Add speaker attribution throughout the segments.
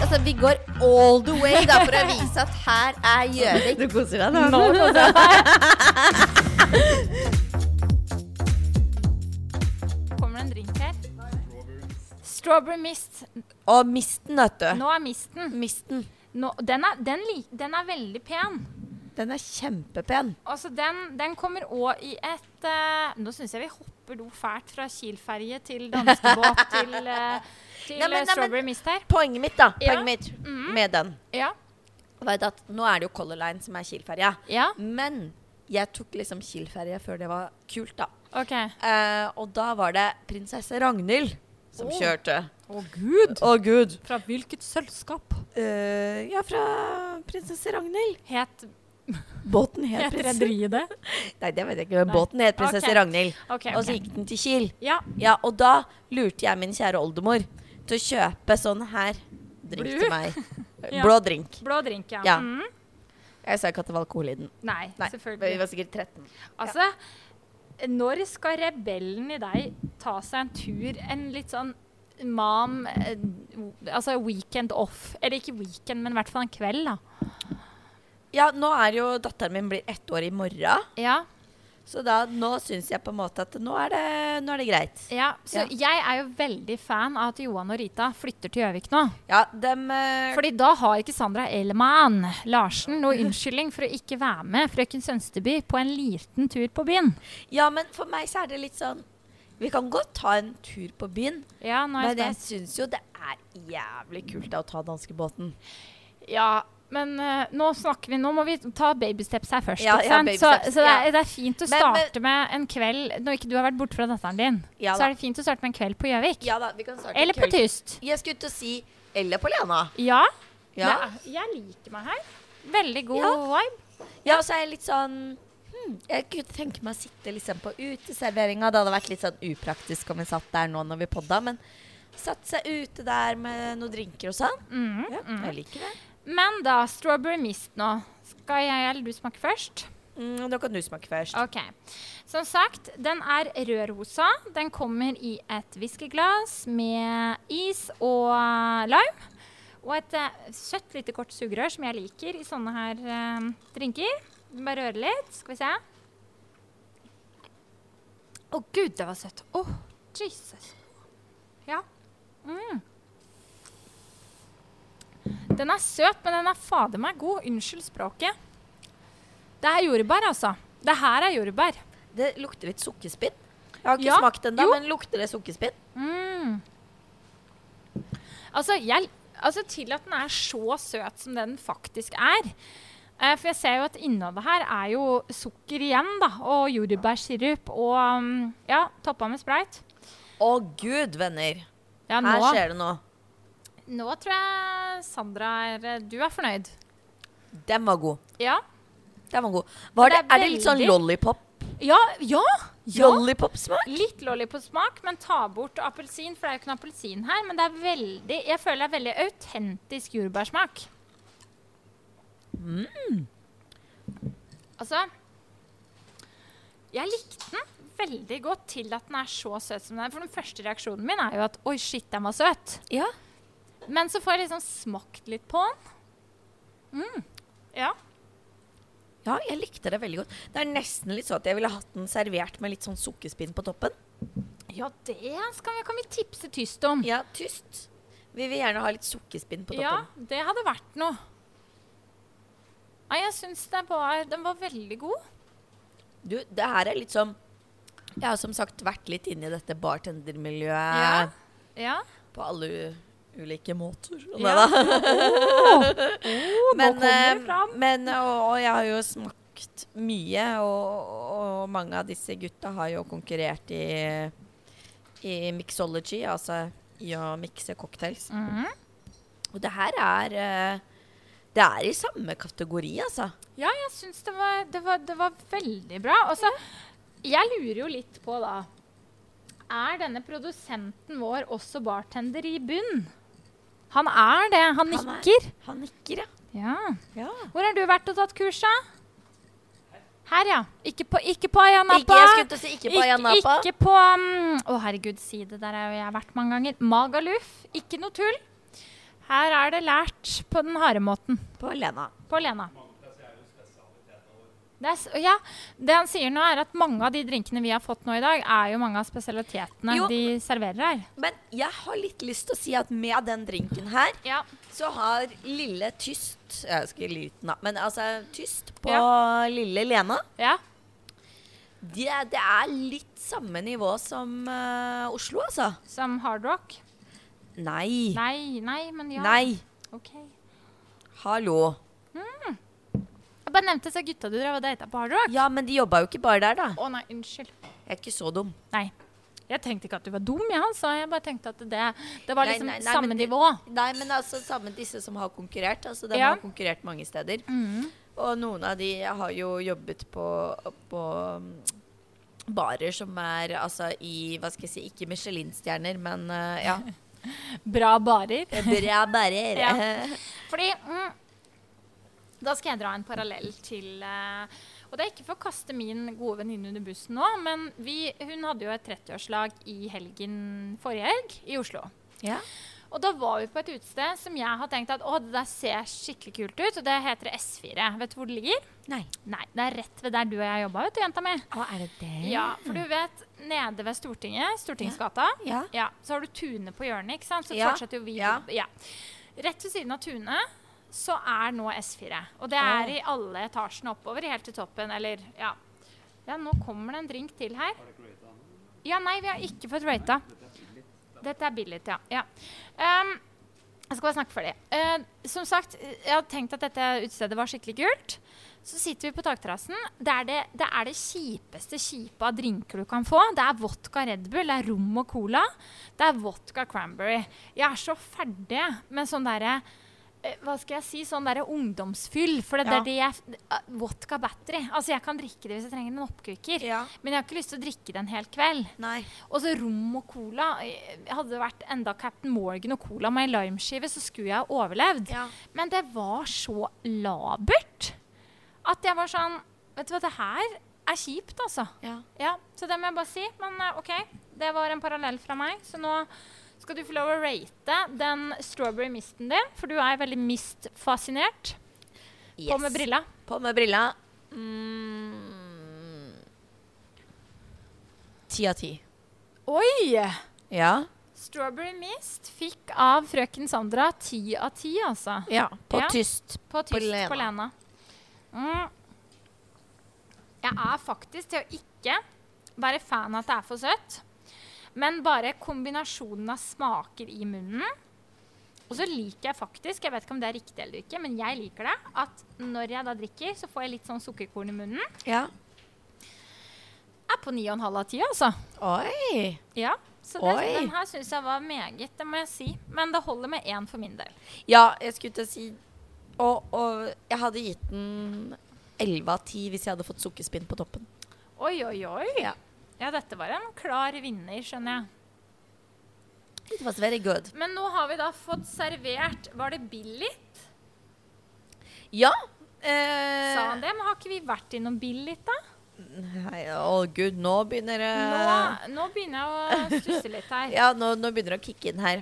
Speaker 1: Altså, vi går all the way da, for å vise at her er Gjøvik.
Speaker 2: Du koser deg nå.
Speaker 3: Kommer det en drink her? Strawberry mist.
Speaker 1: Og misten, vet du.
Speaker 3: Nå er misten.
Speaker 1: Misten.
Speaker 3: Nå, den, er, den, lik- den er veldig pen.
Speaker 1: Den er kjempepen.
Speaker 3: Altså, den, den kommer òg i et eh, Nå syns jeg vi hopper do fælt fra Kiel-ferje til danskebåt til, eh, til
Speaker 1: Nei, men-
Speaker 3: eh,
Speaker 1: nei, men-
Speaker 3: Strawberry Mist her.
Speaker 1: Poenget mitt, da.
Speaker 3: Ja.
Speaker 1: Poenget mitt med den.
Speaker 3: Ja.
Speaker 1: Var det at nå er det jo Color Line som er Kiel-ferja.
Speaker 3: Ja,
Speaker 1: Men jeg tok liksom Kiel-ferje før det var kult, da.
Speaker 3: OK.
Speaker 1: Eh, og da var det prinsesse Ragnhild som
Speaker 3: Åh.
Speaker 1: kjørte.
Speaker 3: Å, gud!
Speaker 1: Oh. Å, gud.
Speaker 3: Fra hvilket selskap?
Speaker 1: Eh, ja, fra prinsesse Ragnhild.
Speaker 3: Het
Speaker 1: Båten het
Speaker 3: Heter
Speaker 1: prinsesse
Speaker 3: rederiet det?
Speaker 1: Nei, det vet jeg ikke. Båten het prinsesse
Speaker 3: Ok.
Speaker 1: Ragnhild.
Speaker 3: OK.
Speaker 1: Og så
Speaker 3: ok.
Speaker 1: gikk den til Kiel.
Speaker 3: Ja.
Speaker 1: Ja, og da lurte jeg min kjære oldemor til å kjøpe sånn her drink
Speaker 3: Blu.
Speaker 1: til meg.
Speaker 3: Ja.
Speaker 1: Blå drink.
Speaker 3: Blå drink, ja.
Speaker 1: Ja.
Speaker 3: Mm.
Speaker 1: Jeg sa ikke at det var alkohol i den.
Speaker 3: Nei,
Speaker 1: Nei,
Speaker 3: selvfølgelig.
Speaker 1: Vi var sikkert 13.
Speaker 3: Altså, når skal rebellen i deg ta seg en tur, en litt sånn mam eh, Altså weekend off. Eller ikke weekend, men i hvert fall en kveld, da.
Speaker 1: Ja, nå er jo datteren min blir ett år i morgen,
Speaker 3: Ja,
Speaker 1: så da nå syns jeg på en måte at nå er det, nå er det greit.
Speaker 3: ja. Så jeg er jo veldig fan av at Johan og Rita flytter til Gjøvik nå.
Speaker 1: Ja, dem eh,
Speaker 3: Fordi da har ikke Sandra Ellemann Larsen noe unnskyldning for å ikke være med frøken Sønsteby på en liten tur på byen.
Speaker 1: Ja, men for meg så er det litt sånn Vi kan godt ta en tur på byen,
Speaker 3: Ja, nå er
Speaker 1: men
Speaker 3: jeg
Speaker 1: jeg
Speaker 3: spent.
Speaker 1: syns jo det er jævlig kult da, å ta danskebåten.
Speaker 3: Ja, men eh, nå snakker vi Nå må vi ta babysteps her først.
Speaker 1: Ja,
Speaker 3: ikke
Speaker 1: ja,
Speaker 3: sant?
Speaker 1: baby
Speaker 3: så
Speaker 1: steps,
Speaker 3: så det,
Speaker 1: ja.
Speaker 3: er, det er fint å
Speaker 1: Men- men-
Speaker 3: starte med en kveld Når ikke du har vært borte fra datteren din,
Speaker 1: Ja
Speaker 3: så
Speaker 1: da.
Speaker 3: er det fint å starte med en kveld på Gjøvik.
Speaker 1: Ja da, vi kan starte
Speaker 3: Eller på
Speaker 1: kveld.
Speaker 3: Tyst.
Speaker 1: Jeg skulle til å si Eller på Lena.
Speaker 3: Ja.
Speaker 1: Ja.
Speaker 3: det er- jeg liker meg her. Veldig god
Speaker 1: Ja.
Speaker 3: vibe.
Speaker 1: ja, og så er jeg litt sånn hmm, Jeg kunne tenke meg å sitte liksom på uteserveringa. Det hadde vært litt sånn upraktisk om vi satt der nå når vi podda, men satt seg ute der med noen drinker og sånn.
Speaker 3: Mm.
Speaker 1: Ja, jeg liker det.
Speaker 3: Men da, strawberry mist nå. Skal jeg eller du smake først?
Speaker 1: Mm, da kan du smake først.
Speaker 3: Ok. Som sagt, den er rødrosa. Den kommer i et whiskyglass med is og eh, lime. Og et eh, søtt, lite kort sugerør som jeg liker i sånne her eh, drinker. Bare røre litt. Skal vi se. Å gud, det var søtt. Å, Jesus. Ja. Mm. Den er søt, men den er fader meg god. Unnskyld språket. Det er jordbær, altså. Det her er jordbær.
Speaker 1: Det lukter litt sukkerspinn. Jeg har ikke
Speaker 3: Ja,
Speaker 1: smakt den da,
Speaker 3: jo.
Speaker 1: men lukter det sukkerspinn?
Speaker 3: Mm. Altså, jeg, altså, til at den er så søt som det den faktisk er. Eh, for jeg ser jo at innholdet her er jo sukker igjen, da. Og jordbærsirup og mm, Ja, toppa med sprayt.
Speaker 1: Å gud, venner.
Speaker 3: Ja, nå,
Speaker 1: Her skjer det noe.
Speaker 3: nå tror jeg Sandra er eh, Du er fornøyd?
Speaker 1: Den var god.
Speaker 3: Ja.
Speaker 1: Den var god. Var det,
Speaker 3: Det er
Speaker 1: er det litt sånn
Speaker 3: veldig-
Speaker 1: lollipop?
Speaker 3: Ja! ja, ja.
Speaker 1: Lollipop-smak?
Speaker 3: Litt lollipop-smak, men ta bort appelsin, for det er jo ikke noe appelsin her. Men det er veldig, jeg føler det er veldig autentisk jordbærsmak. Mm. Altså Jeg likte den veldig godt til at den er så søt som den er. For den første reaksjonen min er jo at oi, shit, den var søt.
Speaker 1: Ja.
Speaker 3: Men så får jeg liksom smakt litt på den. Mm. Ja.
Speaker 1: Ja, jeg likte det veldig godt. Det er nesten litt sånn at jeg ville hatt den servert med litt sånn sukkerspinn på toppen.
Speaker 3: ja, det skal vi, kan vi tipse tyst om.
Speaker 1: Ja, tyst. Vi vil gjerne ha litt sukkerspinn på
Speaker 3: Ja,
Speaker 1: toppen.
Speaker 3: det hadde vært noe. Nei, jeg syns den var, den var veldig god.
Speaker 1: Du, det her er litt som Jeg har som sagt vært litt inne i dette bartendermiljøet
Speaker 3: Ja. Ja.
Speaker 1: på alle u- ulike måter.
Speaker 3: Ja.
Speaker 1: Neida.
Speaker 3: nå
Speaker 1: Men,
Speaker 3: kommer det
Speaker 1: eh,
Speaker 3: fram.
Speaker 1: men og, og jeg har jo smakt mye, og, og mange av disse gutta har jo konkurrert i, i mixology, altså i å mikse cocktails.
Speaker 3: Mhm.
Speaker 1: Og det her er eh, Det er i samme kategori, altså.
Speaker 3: Ja, jeg syns det var, det, var, det var veldig bra. Og så Jeg lurer jo litt på, da Er denne produsenten vår også bartender i bunn? Han er det.
Speaker 1: Han
Speaker 3: Han
Speaker 1: er-
Speaker 3: nikker.
Speaker 1: Han nikker, ja.
Speaker 3: Ja.
Speaker 1: ja.
Speaker 3: Hvor har du vært og tatt kurs, da? Her, ja. Ikke på, ikke på Ayanapa.
Speaker 1: Ikke, jeg skulle til å si ikke på
Speaker 3: Ikk-
Speaker 1: Ayanapa.
Speaker 3: Ikke på mm, um, Å, herregud, si det. Der har jeg vært mange ganger. Magaluf. Ikke noe tull. Her er det lært på den harde måten.
Speaker 1: På Lena.
Speaker 3: På Lena. Det er, s- ja, det han sier nå er at mange av de drinkene vi har fått nå i dag, er jo mange av spesialitetene
Speaker 1: Jo.
Speaker 3: de serverer her.
Speaker 1: Men jeg har litt lyst til å si at med den drinken her,
Speaker 3: Ja.
Speaker 1: så har lille Tyst Jeg skal liten, da. Men altså Tyst på lille Lena.
Speaker 3: ja.
Speaker 1: Det, det er litt samme nivå som eh, Oslo, altså.
Speaker 3: Som hardrock?
Speaker 1: Nei.
Speaker 3: Nei, nei, men ja.
Speaker 1: Nei.
Speaker 3: Ok. Jeg
Speaker 1: Hallo.
Speaker 3: bare nevnte disse gutta du drev og data på hardrock.
Speaker 1: Ja, men de jobba jo ikke bare der, da.
Speaker 3: Å nei, unnskyld.
Speaker 1: Jeg er ikke så dum.
Speaker 3: Nei. Jeg tenkte ikke at du var dum, jeg, altså. Jeg bare tenkte at det, det var
Speaker 1: Nei,
Speaker 3: liksom
Speaker 1: nei, nei,
Speaker 3: samme
Speaker 1: men-
Speaker 3: nivå.
Speaker 1: Nei, men altså samme disse som har konkurrert. Altså, de
Speaker 3: Ja.
Speaker 1: har konkurrert mange steder.
Speaker 3: Mm.
Speaker 1: Og noen av de har jo jobbet på, på mm, barer som er altså i Hva skal jeg si, ikke Michelin-stjerner, men eh, ja.
Speaker 3: Bra barer.
Speaker 1: Bra barer.
Speaker 3: Ja. Fordi mm, Da skal jeg dra en parallell til eh, Og det er ikke for å kaste min gode venninne under bussen nå, men vi, hun hadde jo et 30-årslag i helgen forrige helg i Oslo.
Speaker 1: Ja.
Speaker 3: Og da var vi på et utested som jeg har tenkt at å, det der ser skikkelig kult ut. Og det heter S4. Vet du hvor det ligger?
Speaker 1: Nei.
Speaker 3: Nei, det er rett ved der du og jeg jobba, vet du, jenta mi.
Speaker 1: Å, er det det?
Speaker 3: Ja, for du vet, nede ved Stortinget, Stortingsgata,
Speaker 1: Ja.
Speaker 3: ja, så har du Tune på hjørnet, ikke sant? Så
Speaker 1: Ja.
Speaker 3: fortsetter jo vi.
Speaker 1: Ja.
Speaker 3: Ja. Rett ved siden av Tune så er nå S4. Og det er i alle etasjene oppover, helt til toppen, eller ja. Ja, nå kommer det en drink til her. Ja, nei, vi har ikke fått rata. Dette er billig, ja. ja. Ehm, jeg skal bare snakke for det. Eh, som sagt, jeg hadde tenkt at dette utestedet var skikkelig kult. Så sitter vi på takterrassen. Det er det, det er det kjipeste kjipe av drinker du kan få. Det er vodka Red Bull, det er rom og cola. Det er vodka cranberry. Jeg er så ferdig med sånn derre eh, hva skal jeg si, sånn derre ungdomsfyll. For det, det
Speaker 1: Ja.
Speaker 3: er det jeg eh, Vodka battery. Altså, jeg kan drikke det hvis jeg trenger en oppkvikker.
Speaker 1: Ja.
Speaker 3: Men jeg har ikke lyst til å drikke det en hel kveld.
Speaker 1: Nei.
Speaker 3: Og så rom og cola. Eh, Hadde det vært enda Captain Morgan og cola med ei limeskive, så skulle jeg ha overlevd.
Speaker 1: Ja.
Speaker 3: Men det var så labert at jeg var sånn Vet du hva, det her er kjipt, altså.
Speaker 1: Ja.
Speaker 3: Ja, Så det må jeg bare si. Men eh, OK, det var en parallell fra meg. Så nå skal du få lov å rate den strawberry misten din, for du er veldig mist-fascinert.
Speaker 1: Yes.
Speaker 3: På med brilla.
Speaker 1: På med brilla. Mm. Ti av ti.
Speaker 3: Oi!
Speaker 1: Ja.
Speaker 3: Strawberry mist fikk av frøken Sandra ti av ti, altså.
Speaker 1: ja. På
Speaker 3: Ja.
Speaker 1: tyst.
Speaker 3: På tyst på Lena.
Speaker 1: Lena.
Speaker 3: Mm. Jeg er faktisk til å ikke være fan av at det er for søtt, men bare kombinasjonen av smaker i munnen. Og så liker jeg faktisk, jeg vet ikke om det er riktig eller ikke, men jeg liker det, at når jeg da drikker, så får jeg litt sånn sukkerkorn i munnen.
Speaker 1: Ja.
Speaker 3: Er på 9,5 av 10, altså.
Speaker 1: Oi.
Speaker 3: Ja. Så det,
Speaker 1: Oi.
Speaker 3: den her syns jeg var meget, det må jeg si. Men det holder med én for min del.
Speaker 1: Ja, jeg skulle til å si og, og jeg hadde gitt den 11 av 10 hvis jeg hadde fått sukkerspinn på toppen.
Speaker 3: Oi, oi, oi.
Speaker 1: Ja.
Speaker 3: ja, dette var en klar vinner, skjønner jeg.
Speaker 1: It was very good.
Speaker 3: Men nå har vi da fått servert Var det Billit?
Speaker 1: Ja. Eh,
Speaker 3: Sa han det? Men har ikke vi vært innom Billit, da?
Speaker 1: Nei, å gud, nå begynner det
Speaker 3: Nå, nå begynner jeg å stusse litt her.
Speaker 1: Eh. Ja, nå, nå begynner det å kicke inn her.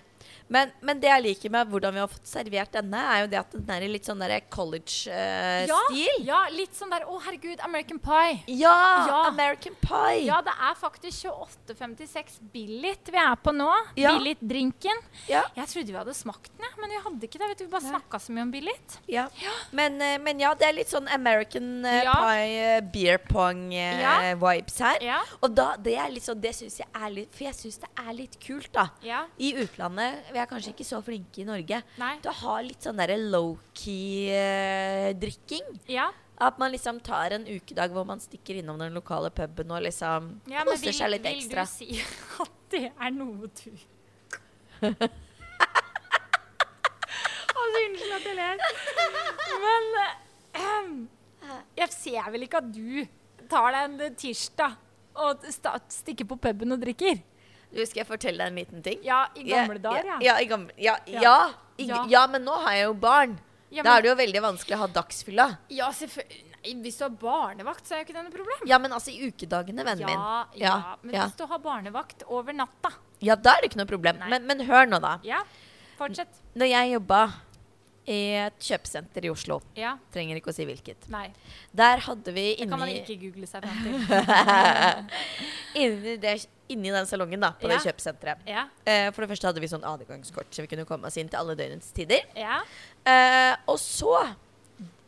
Speaker 1: Men, men det jeg liker med hvordan vi har fått servert denne, er jo det at den er i litt sånn eh,
Speaker 3: ja,
Speaker 1: college-stil.
Speaker 3: ja, litt sånn der Å, herregud, American Pie.
Speaker 1: ja, ja!
Speaker 3: Ja.
Speaker 1: American pie!
Speaker 3: Ja, det er faktisk 28,56 Billit vi er på nå.
Speaker 1: Ja.
Speaker 3: Billit-drinken.
Speaker 1: Ja,
Speaker 3: Jeg trodde vi hadde smakt den, jeg, men vi hadde ikke det. vet du, Vi bare
Speaker 1: Nei.
Speaker 3: snakka så mye om Billit.
Speaker 1: ja. Men, eh, men ja, det er litt sånn American eh,
Speaker 3: Ja.
Speaker 1: pie, eh, beer
Speaker 3: Ja.
Speaker 1: pong-vibes her.
Speaker 3: Ja.
Speaker 1: Og da, det er litt sånn, det syns jeg er litt For jeg syns det er litt kult, da.
Speaker 3: ja.
Speaker 1: I utlandet Vi er kanskje ikke så flinke i Norge.
Speaker 3: Nei.
Speaker 1: Du har litt sånn derre low-key-drikking.
Speaker 3: Ja.
Speaker 1: at man liksom tar en ukedag hvor man stikker innom den lokale puben og liksom
Speaker 3: ja men
Speaker 1: koser
Speaker 3: vil,
Speaker 1: seg litt
Speaker 3: vil
Speaker 1: ekstra.
Speaker 3: du si at det er noe du Altså, unnskyld at jeg ler. Men ehm, jeg ser vel ikke at du tar deg en tirsdag og sta- stikker på puben og drikker?
Speaker 1: Du, skal jeg fortelle deg en liten ting?
Speaker 3: Ja, i gamle dager,
Speaker 1: ja.
Speaker 3: ja.
Speaker 1: Ja, i gamle, ja,
Speaker 3: Ja.
Speaker 1: ja. I,
Speaker 3: Ja.
Speaker 1: ja. men nå har jeg jo barn.
Speaker 3: Ja,
Speaker 1: Da
Speaker 3: men-
Speaker 1: er det jo veldig vanskelig å ha dagsfylla.
Speaker 3: Ja, selvfølgelig. Nei, hvis du har barnevakt, så er jo ikke det noe problem.
Speaker 1: Ja, men altså i ukedagene, vennen min.
Speaker 3: Ja, ja.
Speaker 1: Ja,
Speaker 3: Men
Speaker 1: ja.
Speaker 3: hvis du har barnevakt over natta
Speaker 1: ja, da er det ikke noe problem.
Speaker 3: Nei.
Speaker 1: Men, men hør nå, da.
Speaker 3: Ja. Fortsett.
Speaker 1: Når jeg jobba i et kjøpesenter i Oslo,
Speaker 3: Ja.
Speaker 1: trenger ikke å si hvilket,
Speaker 3: Nei.
Speaker 1: der hadde vi
Speaker 3: Det kan man
Speaker 1: inni,
Speaker 3: ikke google seg fram til.
Speaker 1: inni, det, inni den salongen da, på det
Speaker 3: Ja.
Speaker 1: kjøpesenteret
Speaker 3: Ja.
Speaker 1: eh, For det første hadde vi sånn adgangskort, så vi kunne komme oss inn til alle døgnets tider.
Speaker 3: Ja.
Speaker 1: Eh, og så,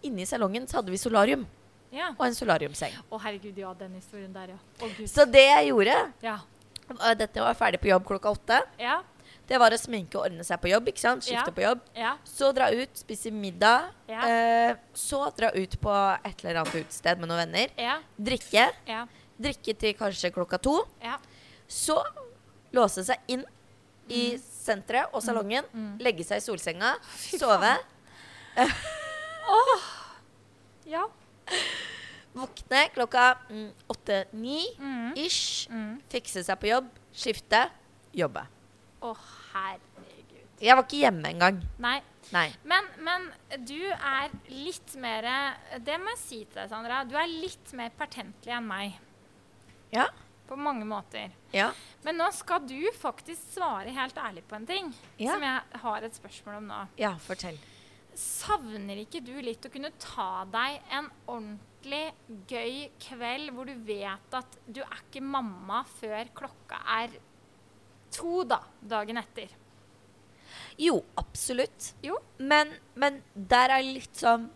Speaker 1: inni salongen, så hadde vi solarium
Speaker 3: ja.
Speaker 1: og en solariumseng.
Speaker 3: Å, herregud, ja, den historien der, ja. Å, gud.
Speaker 1: Så det jeg gjorde
Speaker 3: Ja.
Speaker 1: eh, Dette var ferdig på jobb klokka åtte.
Speaker 3: Ja.
Speaker 1: Det var å sminke og ordne seg på jobb. ikke sant? Skifte
Speaker 3: Ja.
Speaker 1: på jobb.
Speaker 3: Ja.
Speaker 1: Så dra ut, spise middag.
Speaker 3: Ja.
Speaker 1: Eh, så dra ut på et eller annet utested med noen venner.
Speaker 3: Ja.
Speaker 1: Drikke.
Speaker 3: Ja.
Speaker 1: Drikke til kanskje klokka to.
Speaker 3: Ja.
Speaker 1: Så låse seg inn i senteret og salongen.
Speaker 3: Mm.
Speaker 1: Legge seg i solsenga. Sove.
Speaker 3: ja.
Speaker 1: Våkne klokka mm, åtte-ni
Speaker 3: Mm.
Speaker 1: ish.
Speaker 3: Mm.
Speaker 1: Fikse seg på jobb. Skifte. Jobbe.
Speaker 3: Å, herregud.
Speaker 1: Jeg var ikke hjemme engang.
Speaker 3: Nei.
Speaker 1: Nei.
Speaker 3: Men, men du er litt mer Det må jeg si til deg, Sandra. Du er litt mer pertentlig enn meg.
Speaker 1: Ja.
Speaker 3: På mange måter.
Speaker 1: Ja.
Speaker 3: Men nå skal du faktisk svare helt ærlig på en ting
Speaker 1: Ja.
Speaker 3: som jeg har et spørsmål om nå.
Speaker 1: ja fortell.
Speaker 3: Savner ikke du litt å kunne ta deg en ordentlig gøy kveld hvor du vet at du er ikke mamma før klokka er to da, dagen etter?
Speaker 1: Jo, absolutt.
Speaker 3: Jo.
Speaker 1: Men, men der er litt sånn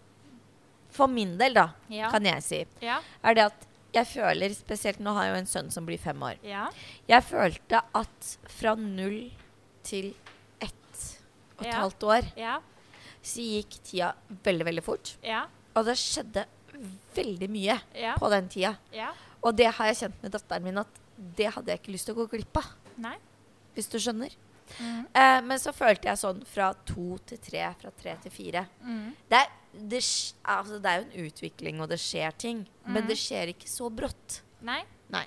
Speaker 1: For min del, da,
Speaker 3: Ja.
Speaker 1: kan jeg si,
Speaker 3: Ja.
Speaker 1: er det at jeg føler Spesielt nå har jeg jo en sønn som blir fem år.
Speaker 3: Ja.
Speaker 1: Jeg følte at fra null til ett og et
Speaker 3: Ja.
Speaker 1: halvt år
Speaker 3: Ja.
Speaker 1: så gikk tida veldig, veldig fort.
Speaker 3: Ja.
Speaker 1: Og det skjedde veldig mye
Speaker 3: Ja.
Speaker 1: på den tida.
Speaker 3: ja.
Speaker 1: Og det har jeg kjent med datteren min at det hadde jeg ikke lyst til å gå glipp av.
Speaker 3: Nei.
Speaker 1: Hvis du skjønner.
Speaker 3: Mm.
Speaker 1: Eh, men så følte jeg sånn fra to til tre, fra tre til fire.
Speaker 3: Mm.
Speaker 1: Det er, det, sk- altså det er jo en utvikling, og det skjer ting. Men
Speaker 3: Mhm.
Speaker 1: det skjer ikke så brått.
Speaker 3: Nei.
Speaker 1: Nei.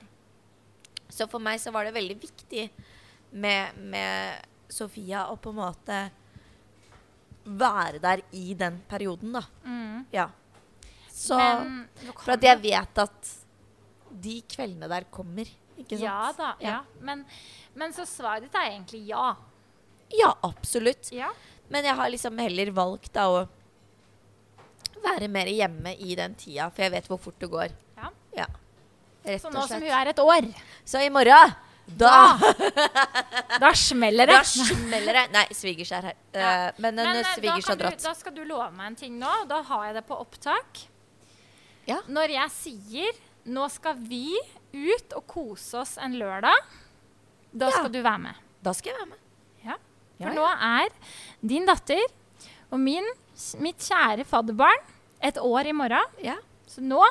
Speaker 1: Så for meg så var det veldig viktig med, med Sofia å på en måte være der i den perioden, da.
Speaker 3: Mm.
Speaker 1: Ja. Så
Speaker 3: Men du kan
Speaker 1: For at jeg vet at de kveldene der kommer, ikke sant?
Speaker 3: Ja da. Ja.
Speaker 1: Ja,
Speaker 3: Men, men så svaret ditt er egentlig ja.
Speaker 1: ja absolutt.
Speaker 3: Ja.
Speaker 1: Men jeg har liksom heller valgt da å være mer hjemme i den tida, for jeg vet hvor fort det går.
Speaker 3: Ja.
Speaker 1: Rett
Speaker 3: Så
Speaker 1: og
Speaker 3: nå som hun
Speaker 1: slett.
Speaker 3: er et år,
Speaker 1: Så i morgen, da,
Speaker 3: Ah! da smeller det.
Speaker 1: da smeller det. Nei, svigers er her.
Speaker 3: Ja.
Speaker 1: Eh, men
Speaker 3: Men
Speaker 1: en
Speaker 3: eh, da,
Speaker 1: svigers
Speaker 3: kan
Speaker 1: har
Speaker 3: du,
Speaker 1: dratt.
Speaker 3: da skal du love meg en ting nå, og da har jeg det på opptak.
Speaker 1: Ja.
Speaker 3: Når jeg sier 'nå skal vi ut og kose oss en lørdag', da
Speaker 1: Ja.
Speaker 3: skal du være med.
Speaker 1: Da skal jeg være med.
Speaker 3: Ja.
Speaker 1: Ja,
Speaker 3: For nå er din datter og min, mitt kjære fadderbarn et år i morgen.
Speaker 1: ja.
Speaker 3: Så nå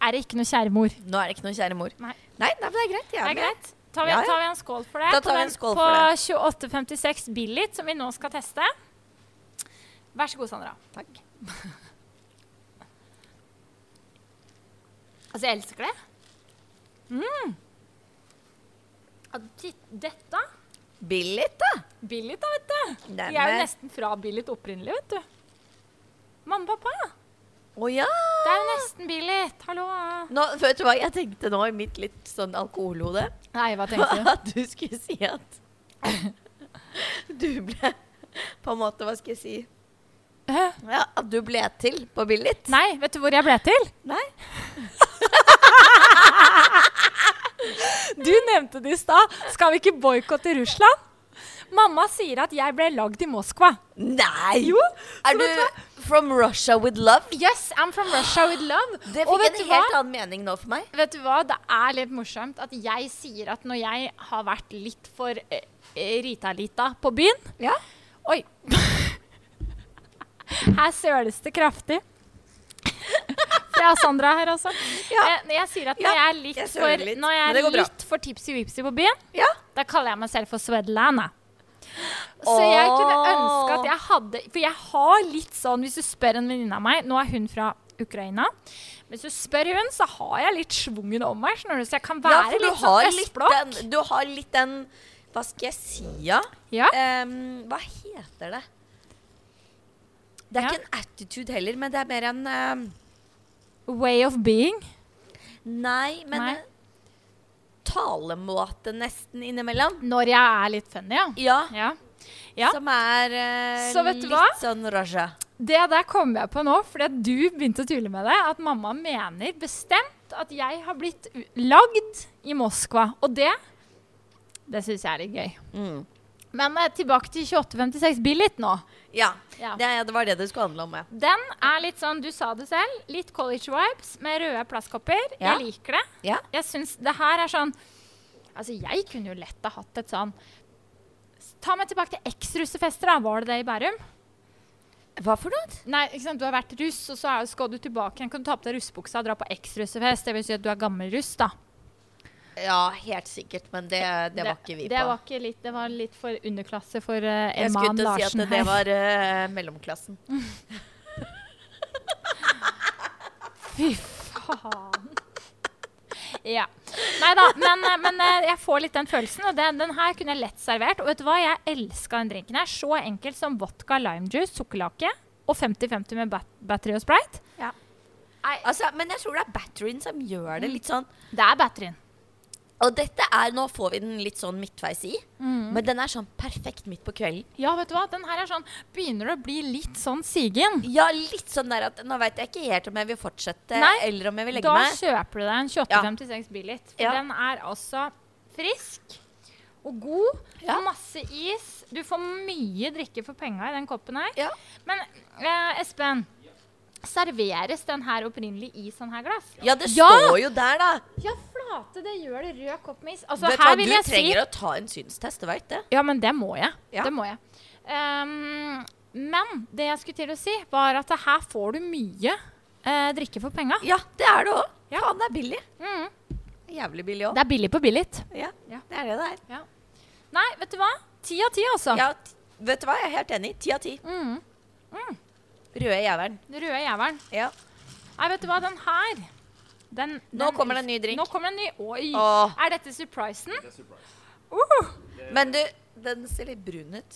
Speaker 3: er det ikke noe kjæremor.
Speaker 1: Nå er det ikke noe kjære mor.
Speaker 3: Nei.
Speaker 1: Nei, nei, men det er greit. Jeg
Speaker 3: Det
Speaker 1: er
Speaker 3: er
Speaker 1: med.
Speaker 3: greit. Tar vi,
Speaker 1: Ja, ja.
Speaker 3: tar vi en skål for det?
Speaker 1: Da tar
Speaker 3: på
Speaker 1: vi en
Speaker 3: den-
Speaker 1: skål
Speaker 3: på
Speaker 1: for det.
Speaker 3: 2856 Billit, som vi nå skal teste. Vær så god, Sandra.
Speaker 1: Takk.
Speaker 3: Altså, jeg elsker det. Mm. Ja, dit- Dette
Speaker 1: Billig, da.
Speaker 3: Billit, da, vet du.
Speaker 1: Det er
Speaker 3: Vi er jo
Speaker 1: med.
Speaker 3: nesten fra Billit opprinnelig, vet du. Mamma og pappa,
Speaker 1: Å ja.
Speaker 3: det er jo nesten Billit. Hallo.
Speaker 1: Nå, vet du hva jeg tenkte nå i mitt litt sånn alkoholhode?
Speaker 3: Nei, hva tenker du?
Speaker 1: At du skulle si at du ble På en måte, hva skal jeg si?
Speaker 3: Hæ?
Speaker 1: Ja, at du ble til på Billit.
Speaker 3: Nei, vet du hvor jeg ble til?
Speaker 1: Nei.
Speaker 3: Du nevnte det i stad. Skal vi ikke boikotte Russland? Mamma sier at jeg ble lagd i Moskva.
Speaker 1: Nei!
Speaker 3: Jo, så
Speaker 1: er
Speaker 3: vet du
Speaker 1: du from Russia with love?
Speaker 3: Yes, I'm from Russia with love.
Speaker 1: Det
Speaker 3: Og
Speaker 1: fikk
Speaker 3: vet
Speaker 1: en
Speaker 3: du
Speaker 1: helt
Speaker 3: hva?
Speaker 1: annen mening nå for meg.
Speaker 3: Vet du hva, det er litt morsomt at jeg sier at når jeg har vært litt for eh, eh, Rita-lita på byen
Speaker 1: Ja.
Speaker 3: Oi! Her søles det kraftig. Fra Sandra her også.
Speaker 1: Ja.
Speaker 3: Eh, Når jeg sier at
Speaker 1: Ja,
Speaker 3: når jeg er litt,
Speaker 1: jeg søler
Speaker 3: for,
Speaker 1: litt,
Speaker 3: når
Speaker 1: men
Speaker 3: jeg
Speaker 1: det går
Speaker 3: er
Speaker 1: bra.
Speaker 3: litt for tipsy-vipsy på byen,
Speaker 1: Ja.
Speaker 3: da kaller jeg meg selv for Svedlana. Så jeg kunne ønske at jeg hadde For jeg har litt sånn Hvis du spør en venninne av meg Nå er hun fra Ukraina. Hvis du spør hun, så har jeg litt svungen om meg. Skjønner du? Så jeg kan
Speaker 1: Ja,
Speaker 3: være
Speaker 1: for du
Speaker 3: litt
Speaker 1: har
Speaker 3: sånn
Speaker 1: litt
Speaker 3: østblokk.
Speaker 1: den Du har litt den Hva skal jeg si, ja?
Speaker 3: Ja.
Speaker 1: Em, hva heter det? Det er
Speaker 3: Ja.
Speaker 1: ikke en attitude heller, men det er mer en em,
Speaker 3: Way of being.
Speaker 1: Nei, men
Speaker 3: Nei.
Speaker 1: en talemåte nesten innimellom.
Speaker 3: Når jeg er litt funny, ja.
Speaker 1: Ja,
Speaker 3: ja. Ja.
Speaker 1: Som er eh,
Speaker 3: Så vet du
Speaker 1: litt
Speaker 3: hva?
Speaker 1: sånn raja.
Speaker 3: Det der kom jeg på nå, fordi at du begynte å tulle med det. At mamma mener bestemt at jeg har blitt u- lagd i Moskva. Og det det syns jeg er litt gøy.
Speaker 1: Mm.
Speaker 3: Men eh, tilbake til 2856 Billit nå.
Speaker 1: Ja.
Speaker 3: Ja.
Speaker 1: Det, ja, det var det det skulle handle om. Ja.
Speaker 3: Den er litt sånn, du sa det selv, litt college vibes med røde plastkopper.
Speaker 1: Ja.
Speaker 3: Jeg liker det.
Speaker 1: Ja.
Speaker 3: Jeg syns det her er sånn Altså, jeg kunne jo lett ha hatt et sånn Ta meg tilbake til eks-russefester, da. Var det det i Bærum?
Speaker 1: Hva for noe?
Speaker 3: Nei, ikke sant? du har vært russ, og så er- skal du tilbake igjen. Kan du ta på deg russebuksa og dra på eks-russefest? Det vil si at du er gammel russ, da.
Speaker 1: Ja, helt sikkert, men det, det var ikke vi
Speaker 3: det
Speaker 1: på.
Speaker 3: Var ikke litt, det var litt for underklasse for uh,
Speaker 1: jeg skulle
Speaker 3: Eman
Speaker 1: ikke si
Speaker 3: Larsen
Speaker 1: at det
Speaker 3: her.
Speaker 1: var eh, mellomklassen.
Speaker 3: Fy faen. Ja. Nei da, men, men eh, jeg får litt den følelsen. Og den, den her kunne jeg lett servert. Og vet du hva, jeg elska den drinken her. Så enkelt som vodka, limejuice, sukkerlake og 50-50 med bat battery og sprite.
Speaker 1: Ja.
Speaker 3: Nei,
Speaker 1: Altså, men jeg tror det er batterien som gjør
Speaker 3: Mm.
Speaker 1: det litt sånn
Speaker 3: det er batterien.
Speaker 1: Og dette er, nå får vi den litt sånn midtveis i,
Speaker 3: Mm.
Speaker 1: men den er sånn perfekt midt på kvelden.
Speaker 3: Ja, vet du hva, den her er sånn Begynner å bli litt sånn sigen.
Speaker 1: Ja, litt sånn der at nå veit jeg ikke helt om jeg vil fortsette,
Speaker 3: Nei,
Speaker 1: eller om jeg vil legge
Speaker 3: Da
Speaker 1: meg.
Speaker 3: kjøper du deg en 2856 Billit. For
Speaker 1: Ja.
Speaker 3: den er altså frisk og god.
Speaker 1: Ja.
Speaker 3: Masse is. Du får mye drikke for penga i den koppen her.
Speaker 1: Ja.
Speaker 3: Men eh, Espen, serveres den her opprinnelig i sånn her glass?
Speaker 1: Ja, det
Speaker 3: Ja!
Speaker 1: står jo der, da.
Speaker 3: Ja, flate, det gjør det. Rød kopp med is. Altså,
Speaker 1: Vet du
Speaker 3: her
Speaker 1: hva,
Speaker 3: vil
Speaker 1: du
Speaker 3: jeg si
Speaker 1: trenger å ta en synstest, du veit det.
Speaker 3: Ja, men det må jeg.
Speaker 1: Ja.
Speaker 3: Det må jeg. Ehm, men det jeg skulle til å si, var at her får du mye eh, drikke for penga.
Speaker 1: Ja, det er det òg.
Speaker 3: Ja.
Speaker 1: Faen, det er billig.
Speaker 3: Mm.
Speaker 1: Jævlig billig òg.
Speaker 3: Det er billig på Billit.
Speaker 1: Ja,
Speaker 3: Ja.
Speaker 1: det er det det er.
Speaker 3: Nei, vet du hva? Ti av ti, altså.
Speaker 1: Ja, t- vet du hva, jeg er helt enig. Ti av ti.
Speaker 3: Mm.
Speaker 1: Røde jævelen.
Speaker 3: Den røde jævelen.
Speaker 1: Ja.
Speaker 3: Nei, vet du hva, den her den,
Speaker 1: Nå kommer det en ny drink.
Speaker 3: Nå kommer det en ny. Oi!
Speaker 1: Åh.
Speaker 3: Er dette surprisen?
Speaker 2: Det er surprise.
Speaker 3: Uh.
Speaker 1: Men du, den ser litt brun ut.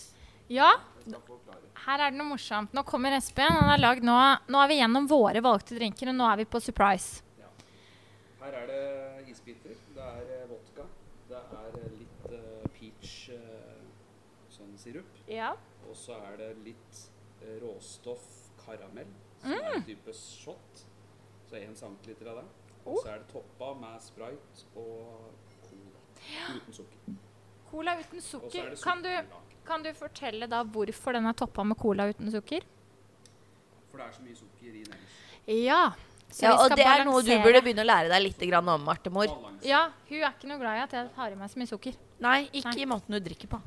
Speaker 3: Ja.
Speaker 2: Jeg skal forklare.
Speaker 3: Her er det noe morsomt. Nå kommer Espen. Han har lagd nå Nå er vi gjennom våre valgte drinker, og nå er vi på surprise.
Speaker 2: Her er det isbiter, det er eh, vodka, det er eh, litt eh, peach eh, sånn sirup,
Speaker 3: Ja.
Speaker 2: og så er det litt eh, råstoff karamell, som er
Speaker 3: Mm.
Speaker 2: en type shot. Så én centiliter av det.
Speaker 3: Oh.
Speaker 2: Og så er det toppa med sprite og cola. Uten sukker.
Speaker 3: Cola uten
Speaker 2: Og så er
Speaker 3: sukker.
Speaker 2: det
Speaker 3: Kan du,
Speaker 2: sukkerlag.
Speaker 3: kan du fortelle da hvorfor den er toppa med cola uten sukker?
Speaker 2: For det er så mye sukker i den. ellers.
Speaker 3: Ja. Så
Speaker 1: Ja,
Speaker 3: vi
Speaker 1: og
Speaker 3: skal
Speaker 1: det er noe du
Speaker 3: balansere.
Speaker 1: burde begynne å lære deg litt grann om, Martemor.
Speaker 2: Balanse.
Speaker 3: Ja, hun er ikke noe glad i at jeg tar i meg så mye sukker.
Speaker 1: Nei, ikke
Speaker 3: Nei.
Speaker 1: i måten du drikker på.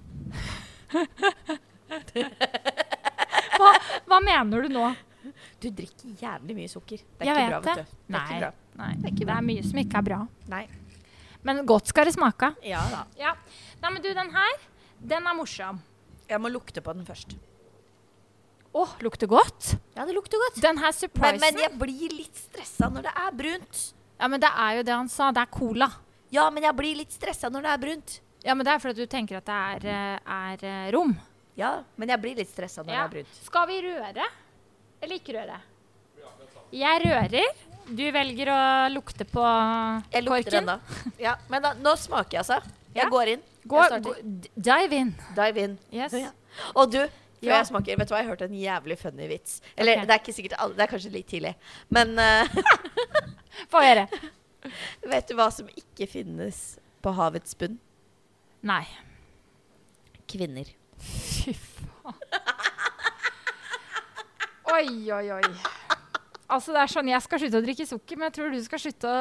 Speaker 3: Hva, hva mener du nå?
Speaker 1: Du drikker jævlig mye sukker. Det er
Speaker 3: Jeg
Speaker 1: ikke
Speaker 3: vet
Speaker 1: bra, vet du.
Speaker 3: det.
Speaker 1: Det er
Speaker 3: Nei,
Speaker 1: ikke bra.
Speaker 3: nei. Det, er mye som ikke er bra.
Speaker 1: Nei.
Speaker 3: Men godt skal det smake.
Speaker 1: Ja da.
Speaker 3: Ja. Nei, men du, den her, den er morsom.
Speaker 1: Jeg må lukte på den først.
Speaker 3: Å, lukter godt.
Speaker 1: Ja, det lukter godt.
Speaker 3: Den
Speaker 1: Men,
Speaker 3: her surprisen
Speaker 1: men jeg blir litt stressa når det er brunt.
Speaker 3: Ja, men det er jo det han sa. Det er cola.
Speaker 1: Ja, men jeg blir litt stressa når det er brunt.
Speaker 3: Ja, men det er fordi du tenker at det er, eh, er eh, rom.
Speaker 1: Ja, men jeg blir litt stressa når det
Speaker 3: Ja.
Speaker 1: er brunt.
Speaker 3: Skal vi røre? Eller ikke røre? Jeg rører. Du velger å lukte på
Speaker 1: Jeg lukter den da. Ja, men da, nå smaker jeg, altså. Jeg
Speaker 3: Ja.
Speaker 1: går inn.
Speaker 3: Gå,
Speaker 1: jeg
Speaker 3: gå,
Speaker 1: starter.
Speaker 3: d- dive in.
Speaker 1: Dive in.
Speaker 3: Yes.
Speaker 1: Ja. Og du, før
Speaker 3: Ja.
Speaker 1: jeg smaker, vet du hva, jeg hørte en jævlig funny vits. Eller
Speaker 3: Ok.
Speaker 1: det er ikke sikkert alle, det er kanskje litt tidlig. Men eh,
Speaker 3: Få høre.
Speaker 1: vet du hva som ikke finnes på havets bunn?
Speaker 3: Nei.
Speaker 1: Kvinner.
Speaker 3: Fy faen. Oi, oi, oi. Altså, det er sånn, Jeg skal slutte å drikke sukker, men jeg tror du skal slutte å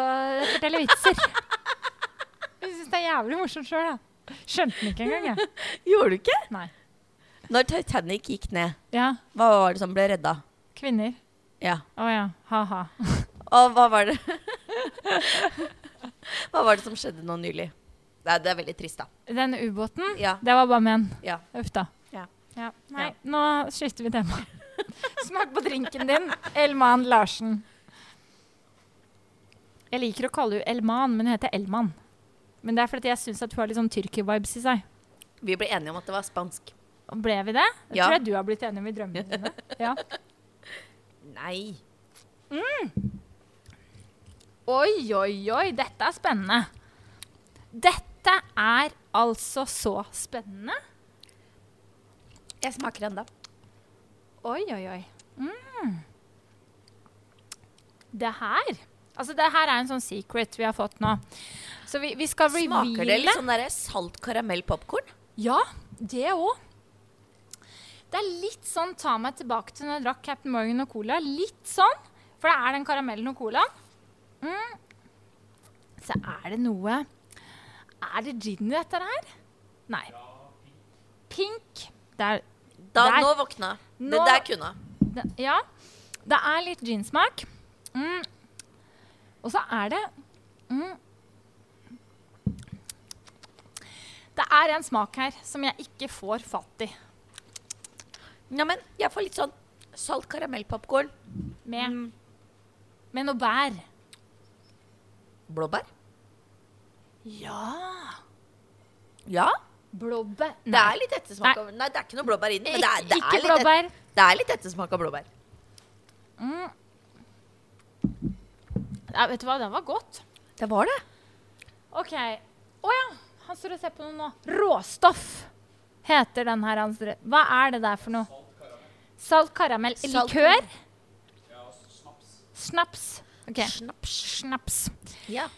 Speaker 3: fortelle vitser. Jeg syns det er jævlig morsomt sjøl, jeg. Skjønte den ikke engang, jeg.
Speaker 1: Gjorde du ikke?
Speaker 3: Nei.
Speaker 1: Når Titanic gikk ned,
Speaker 3: Ja,
Speaker 1: hva var det som ble redda?
Speaker 3: kvinner.
Speaker 1: Ja.
Speaker 3: Å ja. Ha-ha.
Speaker 1: Og hva var det Hva var det som skjedde nå nylig? Nei, det er veldig trist, da.
Speaker 3: Den ubåten,
Speaker 1: Ja.
Speaker 3: det var bare menn.
Speaker 1: Ja.
Speaker 3: Uff da.
Speaker 1: Ja.
Speaker 3: Nei,
Speaker 1: Ja.
Speaker 3: nå skifter vi tema. Smak på drinken din, Elman Larsen. Jeg liker å kalle henne Elman, men hun heter Elman. Men det er fordi jeg syns at hun har litt sånn tyrker-vibes i seg.
Speaker 1: Vi ble enige om at det var spansk.
Speaker 3: Og Ble vi det? Jeg
Speaker 1: Ja.
Speaker 3: tror jeg du har blitt enig med i drømmene dine. Ja.
Speaker 1: Nei.
Speaker 3: Oi, oi, oi, dette er spennende. Dette er altså så spennende
Speaker 1: Jeg smaker enda.
Speaker 3: Oi, oi, oi. Mm. Det her Altså, det her er en sånn secret vi har fått nå. Så vi, vi skal reveale
Speaker 1: Smaker det litt sånn der salt karamellpopkorn?
Speaker 3: Ja, det òg. Det er litt sånn ta meg tilbake til når jeg drakk Captain Morgan og cola. Litt sånn, for det er den karamellen og colaen. Mm. Så er det noe Er det gin i dette her? Nei. Pink. Det er
Speaker 1: Da,
Speaker 3: Der.
Speaker 1: nå våkna. Det
Speaker 3: Nå-
Speaker 1: der kunne.
Speaker 3: det, Ja. Det er litt ginsmak. Mm. Og så er det mm. Det er en smak her som jeg ikke får fatt i.
Speaker 1: Ja, men jeg får litt sånn salt karamellpopkorn.
Speaker 3: Med,
Speaker 1: Mm.
Speaker 3: med noe bær.
Speaker 1: Blåbær?
Speaker 3: Ja!
Speaker 1: Ja.
Speaker 3: Blåbær
Speaker 1: Det er litt ettersmak
Speaker 3: Nei.
Speaker 1: av Nei, det er ikke noe blåbær inni, men det er,
Speaker 3: Ikke,
Speaker 1: det
Speaker 3: ikke
Speaker 1: er, litt, et,
Speaker 3: blåbær.
Speaker 1: det er litt ettersmak av blåbær.
Speaker 3: Mm. Ja, vet du hva, den var godt.
Speaker 1: Det var det.
Speaker 3: OK. Å ja, han står og ser på noe nå. Råstoff heter den her. Han står. Hva er det der for noe? Salt karamell.
Speaker 1: Salt-
Speaker 3: Likør?
Speaker 2: Ja, altså snaps
Speaker 3: Snaps. OK.
Speaker 1: Snaps.
Speaker 3: Snaps.
Speaker 1: Ja.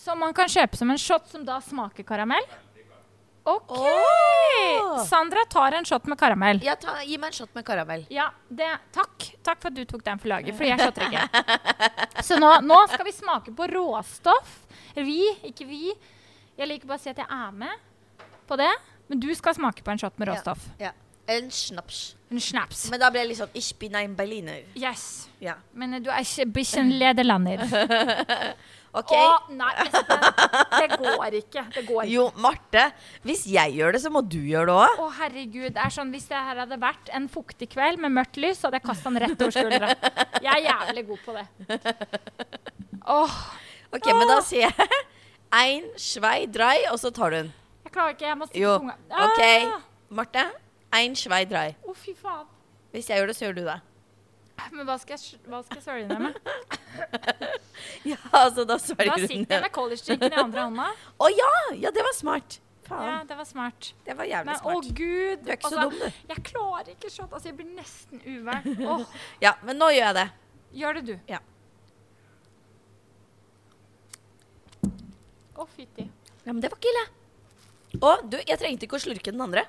Speaker 2: som du kan kjøpe som
Speaker 3: Som man kan kjøpe som en
Speaker 2: en shot.
Speaker 3: shot som da smaker karamell. OK!
Speaker 1: Åh!
Speaker 3: Sandra tar en shot med karamell.
Speaker 1: Ja, ta, gi meg en shot med karamell.
Speaker 3: Ja, det, takk. Takk for at du tok den for laget, for jeg shotter ikke. Så nå, nå skal vi smake på råstoff. Eller Vi, ikke vi. Jeg liker bare å si at jeg er med på det. Men du skal smake på en shot med råstoff.
Speaker 1: Ja. En snaps.
Speaker 3: En snaps.
Speaker 1: Men da blir jeg litt sånn Ich bin ein Berliner.
Speaker 3: Yes.
Speaker 1: Ja.
Speaker 3: Men eh, du er ikke bikkjen lederlander.
Speaker 1: OK.
Speaker 3: Å, nei, Espen. Det går ikke. Det går ikke.
Speaker 1: Jo, Marte. Hvis jeg gjør det, så må du gjøre det òg.
Speaker 3: Å, herregud. Det er sånn, hvis det her hadde vært en fuktig kveld med mørkt lys, så hadde jeg kasta den rett over skuldra. Jeg er jævlig god på det. Åh,
Speaker 1: OK, men da sier jeg ein, svei, drei, og så tar du den.
Speaker 3: jeg klarer ikke. Jeg må stikke
Speaker 1: Jo.
Speaker 3: tunga
Speaker 1: OK.
Speaker 3: Ah!
Speaker 1: Marte. Ein, svei, drei.
Speaker 3: Å, fy faen.
Speaker 1: Hvis jeg gjør det, så gjør du det.
Speaker 3: Men hva skal jeg, s- hva skal jeg svelge den med?
Speaker 1: Ja, altså, da
Speaker 3: Da
Speaker 1: svelger du den.
Speaker 3: sitter jeg med collegedrinken i andre hånda.
Speaker 1: Å ja! Ja, det var smart. Faen.
Speaker 3: Ja, det var smart.
Speaker 1: Det var jævlig
Speaker 3: Men å
Speaker 1: smart.
Speaker 3: gud.
Speaker 1: Du
Speaker 3: Altså,
Speaker 1: er ikke så dum, du.
Speaker 3: Jeg klarer ikke shot. Altså, jeg blir nesten uvel. Åh,
Speaker 1: Ja, men nå gjør jeg det.
Speaker 3: gjør det du.
Speaker 1: Ja.
Speaker 3: Å, fytti.
Speaker 1: Ja, Men det var ikke ille. Å, du, jeg trengte ikke å slurke den andre.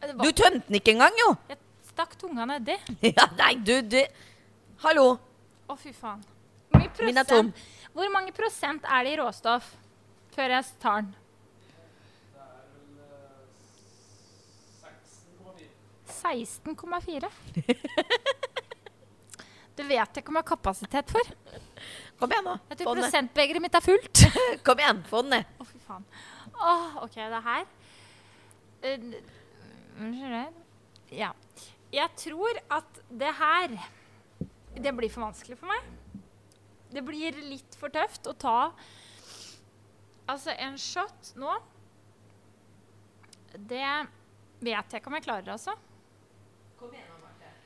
Speaker 3: Det
Speaker 1: Du
Speaker 3: var-
Speaker 1: tømte den ikke engang, jo!
Speaker 3: Jeg stakk tunga nedi.
Speaker 1: Ja, nei, du, du Hallo.
Speaker 3: Å, fy faen. Hvor, mye
Speaker 1: Min er
Speaker 3: prosent-
Speaker 1: tom.
Speaker 3: Hvor mange prosent er det i råstoff før jeg tar den?
Speaker 2: Det er vel eh, 16,4.
Speaker 3: 16,4. Det vet jeg ikke om jeg har kapasitet for.
Speaker 1: Kom igjen, nå.
Speaker 3: Jeg
Speaker 1: Få
Speaker 3: tror
Speaker 1: den ned.
Speaker 3: prosentbegeret mitt er fullt. Å,
Speaker 1: Kom igjen, få den ned.
Speaker 3: fy faen. Åh, OK, det her Eh, Unnskyld. jeg. Ja. Jeg tror at det her Det blir for vanskelig for meg. Det blir litt for tøft å ta Altså, en shot nå Det vet jeg ikke om jeg klarer, altså.
Speaker 1: Kom igjen, Marte.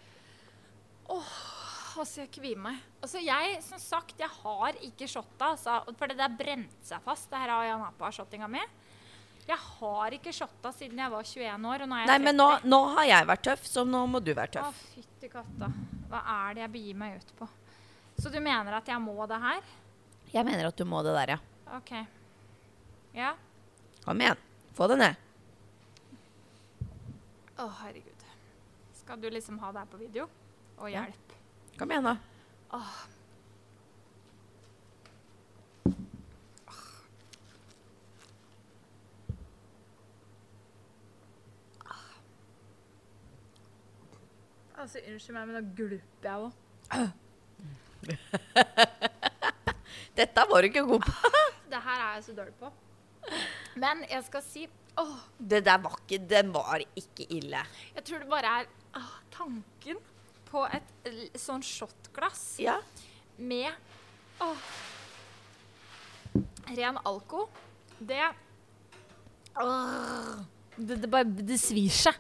Speaker 3: Altså, jeg kvier meg. Altså, jeg, som sagt, jeg har ikke shotta, altså. For det der brente seg fast. Det her har Jan Apa shottinga mi. Jeg har ikke shotta siden jeg var 21 år, og nå er jeg
Speaker 1: Nei, men nå, nå har jeg vært tøff, så nå må du være
Speaker 3: Å,
Speaker 1: tøff.
Speaker 3: fytti katta. Hva er det jeg begir meg ut på? Så du mener at jeg må det her?
Speaker 1: Jeg mener at du må det der, ja.
Speaker 3: OK. Ja.
Speaker 1: Kom igjen. Få det ned.
Speaker 3: Å, herregud. Skal du liksom ha det her på video? Og
Speaker 1: Ja.
Speaker 3: hjelp.
Speaker 1: Kom igjen, da.
Speaker 3: Altså, unnskyld meg, men nå glupper jeg òg.
Speaker 1: Dette var du ikke god på.
Speaker 3: Det her er jeg så dårlig på. Men jeg skal si Åh,
Speaker 1: Det der var ikke Den var ikke ille.
Speaker 3: Jeg tror det bare er ah, tanken på et l- sånn shotglass
Speaker 1: Ja.
Speaker 3: med åh, ren alko. Det Åh, det, det bare det svir seg.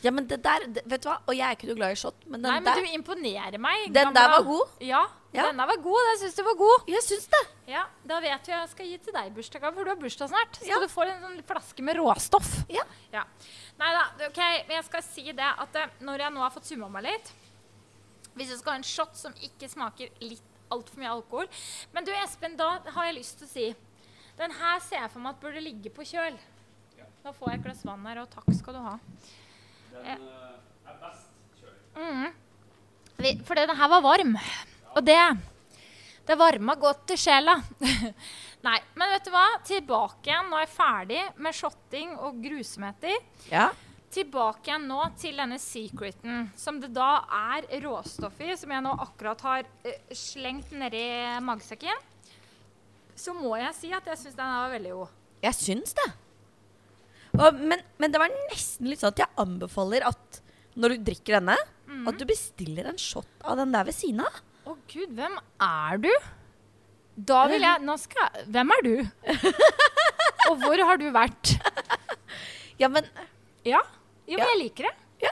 Speaker 1: Ja, men det der det, Vet du hva, og jeg er ikke noe glad i shot, men den
Speaker 3: Nei, men
Speaker 1: der
Speaker 3: du imponerer meg.
Speaker 1: Den
Speaker 3: gamla.
Speaker 1: der var god.
Speaker 3: Ja,
Speaker 1: Ja.
Speaker 3: denne var god. Jeg syns du var god.
Speaker 1: Jeg syns det.
Speaker 3: Ja, Da vet du jeg skal gi til deg i bursdagsgave, for du har bursdag snart. Skal
Speaker 1: Ja.
Speaker 3: du få en sånn flaske med råstoff.
Speaker 1: Ja.
Speaker 3: Ja. Nei da, det- OK. Men jeg skal si det at eh, når jeg nå har fått summa meg litt Hvis du skal ha en shot som ikke smaker litt altfor mye alkohol Men du Espen, da har jeg lyst til å si Den her ser jeg for meg at burde ligge på kjøl.
Speaker 2: Ja.
Speaker 3: Nå får jeg et glass vann her, og takk skal du ha.
Speaker 2: Den eh, er best kjølig.
Speaker 3: Vi- Fordi den her var varm. Og det Det varma godt i sjela. Nei, men vet du hva? Tilbake igjen. Nå er jeg ferdig med shotting og grusomheter.
Speaker 1: Ja.
Speaker 3: Tilbake igjen nå til denne secreten, som det da er råstoff i, som jeg nå akkurat har eh, slengt nedi magesekken. Så må jeg si at jeg syns den her var veldig god.
Speaker 1: Jeg syns det. Og, men, men det var nesten litt sånn at jeg anbefaler at når du drikker denne, at du bestiller en shot av den der ved siden av.
Speaker 3: Å gud, hvem er du? Da vil jeg Nå skal jeg Hvem er du? Og hvor har du vært?
Speaker 1: Ja, men,
Speaker 3: Ja. Jo, men
Speaker 1: Ja.
Speaker 3: jeg liker det.
Speaker 1: ja.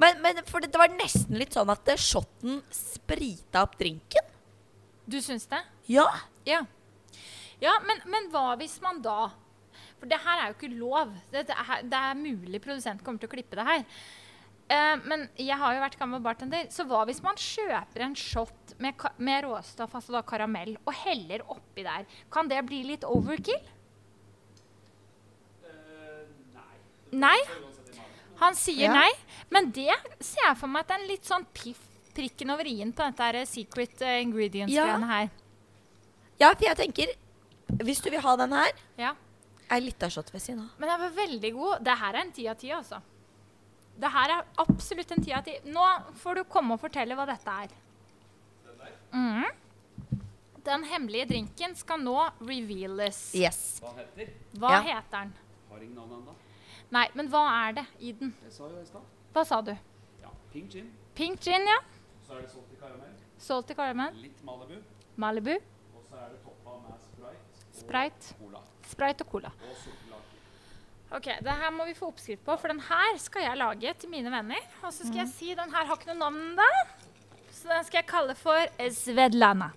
Speaker 1: men, men for det, det var nesten litt sånn at eh, shoten sprita opp drinken.
Speaker 3: Du syns det?
Speaker 1: Ja.
Speaker 3: Ja. Ja, men, men hva hvis man da For det her er jo ikke lov. Det, det, er, det er mulig produsenten kommer til å klippe det her. Eh, men jeg har jo vært gammel bartender, så hva hvis man kjøper en shot med, ka- med råstoff, altså da karamell, og heller oppi der? Kan det bli litt overkill?
Speaker 2: Eh, nei.
Speaker 3: Nei.
Speaker 2: Uansett i magen.
Speaker 3: Han sier
Speaker 1: Ja.
Speaker 3: nei. Men det ser jeg for meg at det er en litt sånn piff, prikken over i-en på dette her secret eh, ingredients-greiene her.
Speaker 1: Ja, for jeg tenker Hvis du vil ha den her,
Speaker 3: Ja.
Speaker 1: ei lita shot ved siden av.
Speaker 3: Men den var veldig god. Det her er en ti av ti, altså. Det her er absolutt en ti av ti. Nå får du komme og fortelle hva dette er.
Speaker 2: Den der.
Speaker 3: Mhm. Den hemmelige drinken skal nå reveales.
Speaker 1: Yes.
Speaker 2: Hva den heter?
Speaker 3: Hva
Speaker 1: Ja.
Speaker 3: heter den?
Speaker 2: Har ingen navn ennå.
Speaker 3: Nei, men hva er det i den?
Speaker 2: Jeg sa jo i stad.
Speaker 3: Hva sa du?
Speaker 2: Ja. Pink gin.
Speaker 3: Pink gin, ja.
Speaker 2: Så er det salt i karamell.
Speaker 3: Salty caramel.
Speaker 2: Litt Malibu.
Speaker 3: Malibu.
Speaker 2: Og så er det toppa med sprite. og
Speaker 3: Sprite.
Speaker 2: Cola.
Speaker 3: Sprite og cola.
Speaker 2: Og sukkerlake.
Speaker 3: Ok, Det her må vi få oppskrift på, for den her skal jeg lage til mine venner. Og så skal
Speaker 1: Mhm.
Speaker 3: jeg si den her har ikke noe navn da, så den skal jeg kalle for Svedlana.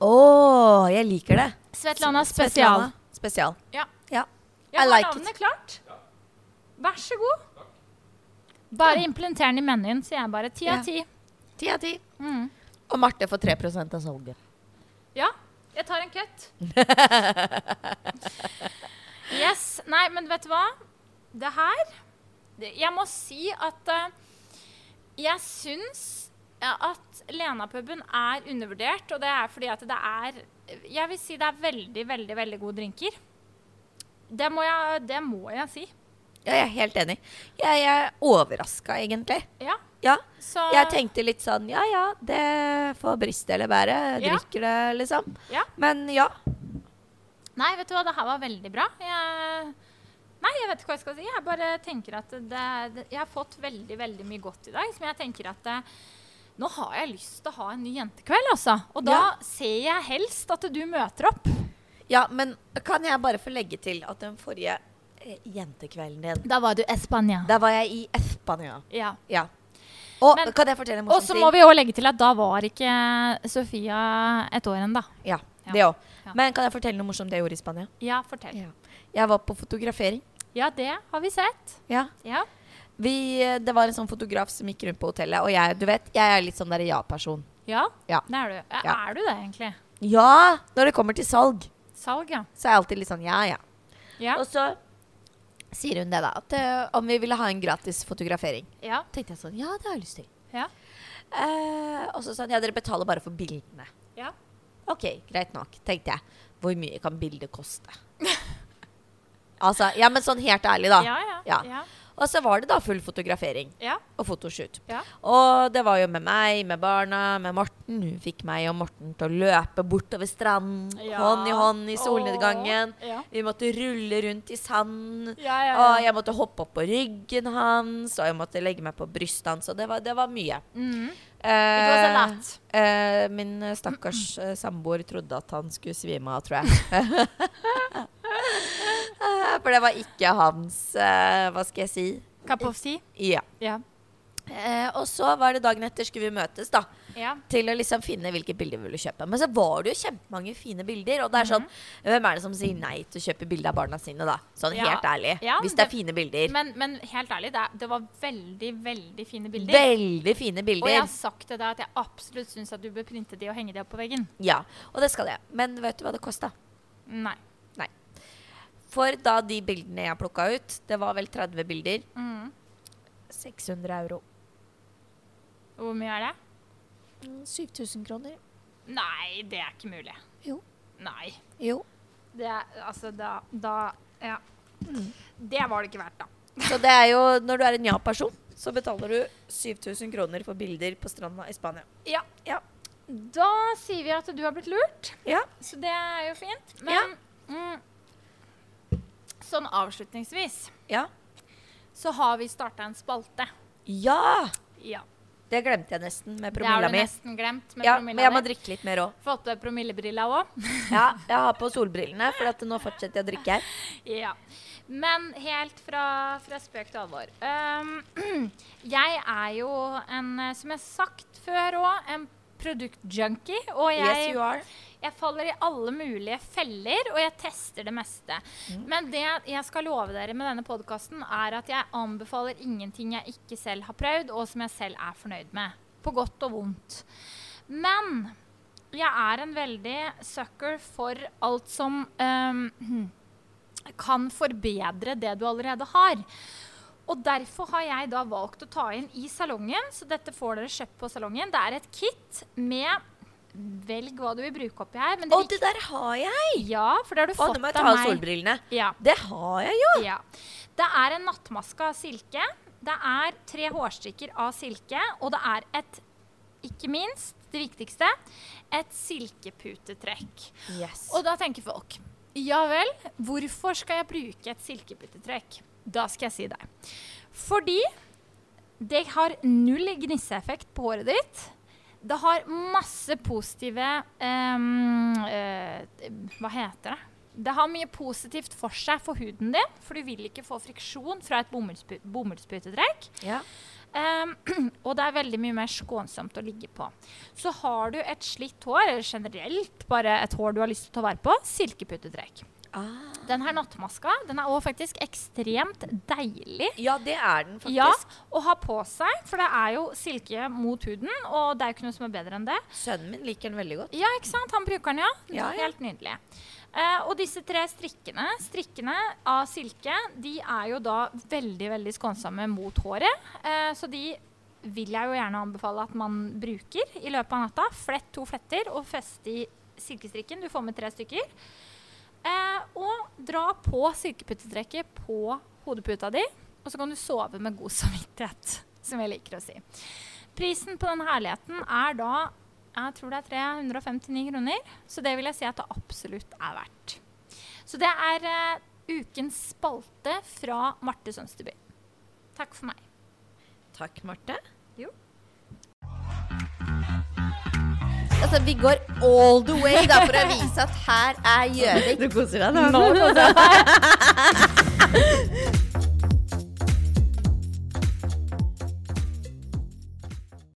Speaker 1: Å, jeg liker det.
Speaker 3: Svetlana spesial.
Speaker 1: Svetlana Spesial.
Speaker 3: Ja.
Speaker 1: Ja.
Speaker 3: Jeg
Speaker 1: I
Speaker 3: har
Speaker 1: like
Speaker 3: navnet
Speaker 1: it.
Speaker 3: klart. Vær så god. Bare implementer den i menyen, sier jeg bare. Ti
Speaker 1: Ja.
Speaker 3: av ti.
Speaker 1: Ti av ti.
Speaker 3: Mm.
Speaker 1: Og Marte får 3 av salget.
Speaker 3: Ja, jeg tar en cut. yes. Nei, men vet du hva? Det her det, Jeg må si at eh, jeg syns eh, at Lena-puben er undervurdert, og det er fordi at det er Jeg vil si det er veldig, veldig, veldig gode drinker. Det må jeg, det må jeg si.
Speaker 1: Ja, jeg er helt enig. Jeg er overraska, egentlig.
Speaker 3: Ja.
Speaker 1: Ja.
Speaker 3: Så
Speaker 1: Jeg tenkte litt sånn ja ja, det får briste eller bære.
Speaker 3: Ja.
Speaker 1: Drikker det, liksom.
Speaker 3: Ja.
Speaker 1: Men ja.
Speaker 3: Nei, vet du hva, det her var veldig bra. Jeg, nei, jeg vet ikke hva jeg skal si. Jeg bare tenker at det, det, jeg har fått veldig, veldig mye godt i dag. Som jeg tenker at eh, nå har jeg lyst til å ha en ny jentekveld, altså. Og da
Speaker 1: Ja.
Speaker 3: ser jeg helst at du møter opp.
Speaker 1: Ja, men kan jeg bare få legge til at den forrige eh, jentekvelden din,
Speaker 3: Da var du i Spania.
Speaker 1: der var jeg i Espania.
Speaker 3: Ja.
Speaker 1: Ja. Og
Speaker 3: Men-
Speaker 1: kan jeg fortelle en
Speaker 3: Og
Speaker 1: morsom
Speaker 3: så
Speaker 1: ting?
Speaker 3: må vi òg legge til at da var ikke Sofia et år ennå.
Speaker 1: Ja,
Speaker 3: Ja.
Speaker 1: det òg.
Speaker 3: Ja.
Speaker 1: Men kan jeg fortelle noe morsomt jeg gjorde i Spania?
Speaker 3: Ja, fortell.
Speaker 1: Jeg var på fotografering.
Speaker 3: Ja, det har vi sett.
Speaker 1: Ja.
Speaker 3: Ja.
Speaker 1: Vi, det var en sånn fotograf som gikk rundt på hotellet, og jeg, du vet, jeg er litt sånn der ja-person.
Speaker 3: Ja,
Speaker 1: Ja.
Speaker 3: det er du. Ja,
Speaker 1: Ja.
Speaker 3: Er du det, egentlig?
Speaker 1: Ja, når det kommer til salg,
Speaker 3: Salg, ja.
Speaker 1: så er jeg alltid litt sånn ja, ja.
Speaker 3: Ja.
Speaker 1: Og så sier hun det, da. At eh, om vi ville ha en gratis fotografering.
Speaker 3: ja.
Speaker 1: Tenkte jeg sånn, ja, det har jeg lyst til.
Speaker 3: ja.
Speaker 1: Eh, og så sa hun ja, dere betaler bare for bildene.
Speaker 3: ja.
Speaker 1: Ok, greit nok, tenkte jeg. Hvor mye kan bildet koste? altså, ja, men sånn helt ærlig, da.
Speaker 3: Ja, ja.
Speaker 1: Ja.
Speaker 3: ja.
Speaker 1: Og så var det da full fotografering
Speaker 3: ja.
Speaker 1: og fotoshoot.
Speaker 3: ja.
Speaker 1: Og det var jo med meg, med barna, med Morten. Hun fikk meg og Morten til å løpe bortover stranden,
Speaker 3: Ja.
Speaker 1: hånd i hånd i solnedgangen.
Speaker 3: Åh, ja.
Speaker 1: Vi måtte rulle rundt i sanden.
Speaker 3: Ja, ja, ja.
Speaker 1: Og jeg måtte hoppe opp på ryggen hans, og jeg måtte legge meg på brystet hans, og det var, det var mye.
Speaker 3: Mhm.
Speaker 1: Eh,
Speaker 3: was a lot.
Speaker 1: eh, min eh, stakkars eh, samboer trodde at han skulle svime av, tror jeg. Eh, For det var ikke hans eh, Hva skal jeg si?
Speaker 3: Cup of tea?
Speaker 1: Ja.
Speaker 3: Ja.
Speaker 1: Eh, og så var det dagen etter skulle vi møtes, da.
Speaker 3: Ja.
Speaker 1: til å liksom finne hvilke bilder vi ville kjøpe. Men så var det jo kjempemange fine bilder. Og det er sånn, hvem er det som sier nei til å kjøpe bilde av barna sine, da? Sånn
Speaker 3: Mhm. Ja.
Speaker 1: helt ærlig.
Speaker 3: Ja,
Speaker 1: Hvis det er
Speaker 3: det-
Speaker 1: fine bilder.
Speaker 3: Men, men helt ærlig, det, er- det var veldig, veldig fine bilder.
Speaker 1: Veldig fine
Speaker 3: Og jeg
Speaker 1: bilder.
Speaker 3: har sagt til deg at jeg absolutt syns at du bør printe de og henge de opp på veggen.
Speaker 1: Ja, og det skal jeg. Men vet du hva det kosta?
Speaker 3: Nei.
Speaker 1: For da de bildene jeg plukka ut, det var vel 30 bilder,
Speaker 3: Mm.
Speaker 1: 600 euro.
Speaker 3: Hvor mye er det?
Speaker 1: 7000 Mm, kroner.
Speaker 3: Nei, det er ikke mulig.
Speaker 1: Jo.
Speaker 3: Nei.
Speaker 1: Jo.
Speaker 3: Det er Altså, da, da Ja. Mm. Det var det ikke verdt, da.
Speaker 1: Så det er jo, når du er en ja-person, så betaler du 7000 kroner for bilder på stranda i Spania.
Speaker 3: Ja.
Speaker 1: Ja.
Speaker 3: Da sier vi at du har blitt lurt,
Speaker 1: Ja.
Speaker 3: så det er jo fint. Men
Speaker 1: Ja.
Speaker 3: mm, sånn avslutningsvis
Speaker 1: Ja.
Speaker 3: så har vi starta en spalte.
Speaker 1: ja!
Speaker 3: Ja.
Speaker 1: Det glemte jeg nesten med
Speaker 3: Det har
Speaker 1: promilla
Speaker 3: du
Speaker 1: mi.
Speaker 3: nesten glemt med
Speaker 1: Ja, men
Speaker 3: promilla
Speaker 1: jeg må
Speaker 3: di.
Speaker 1: drikke litt mer òg.
Speaker 3: Fått på deg promillebrilla òg.
Speaker 1: Ja, jeg har på solbrillene, for at nå fortsetter jeg å drikke her.
Speaker 3: ja. Men helt fra, fra spøk til alvor. Ehm, jeg er jo en, eh, som jeg har sagt før òg, en produktjunkie. Og jeg
Speaker 1: Yes, you are.
Speaker 3: Jeg faller i alle mulige feller, og jeg tester det meste.
Speaker 1: Mm.
Speaker 3: Men det jeg skal love dere med denne podkasten, er at jeg anbefaler ingenting jeg ikke selv har prøvd, og som jeg selv er fornøyd med. På godt og vondt. Men jeg er en veldig sucker for alt som øhm, kan forbedre det du allerede har. Og derfor har jeg da valgt å ta inn i salongen, så dette får dere kjøpt på salongen. Det er et kit med Velg hva du vil bruke oppi her. Men det
Speaker 1: Å, det der har jeg!
Speaker 3: viktige- ja, for det har du
Speaker 1: Å,
Speaker 3: fått
Speaker 1: nå må jeg
Speaker 3: av
Speaker 1: ta av
Speaker 3: meg.
Speaker 1: solbrillene.
Speaker 3: Ja,
Speaker 1: Det har jeg jo!
Speaker 3: ja. Det er en nattmaske av silke. Det er tre hårstykker av silke, og det er et, ikke minst, det viktigste, et silkeputetrekk.
Speaker 1: Yes.
Speaker 3: Og da tenker folk ja vel, hvorfor skal jeg bruke et silkeputtetrekk? Da skal jeg si deg. Fordi det har null gnisseeffekt på håret ditt. Det har masse positive ehm, eh, Hva heter det? Det har mye positivt for seg for huden din, for du vil ikke få friksjon fra et bomullspu- bomullsputetrekk.
Speaker 1: Ja.
Speaker 3: Um, og det er veldig mye mer skånsomt å ligge på. Så har du et slitt hår, eller generelt bare et hår du har lyst til å ta vare på, silkeputtetrekk.
Speaker 1: Ah.
Speaker 3: Den her nattmaska den er også faktisk ekstremt deilig.
Speaker 1: ja, det er den faktisk.
Speaker 3: Ja, å ha på seg, for det er jo silke mot huden, og det er jo ikke noe som er bedre enn det.
Speaker 1: Sønnen min liker den veldig godt.
Speaker 3: Ja, ikke sant? Han bruker den, ja.
Speaker 1: Ja, ja.
Speaker 3: Helt nydelig. Eh, og disse tre strikkene, strikkene av silke, de er jo da veldig, veldig skånsomme mot håret. Eh, så de vil jeg jo gjerne anbefale at man bruker i løpet av natta. Flett to fletter og fest i silkestrikken. Du får med tre stykker. Eh, og dra på silkeputtetrekket på hodeputa di, og så kan du sove med god samvittighet, som jeg liker å si. Prisen på den herligheten er da jeg tror det er 359 kroner, så det vil jeg si at det absolutt er verdt. Så det er eh, ukens spalte fra Marte Sønsteby. Takk for meg.
Speaker 1: Takk, Marte.
Speaker 3: Jo.
Speaker 1: Altså, vi går all the way da, for å vise at her er Gjøvik. Du koser deg, da.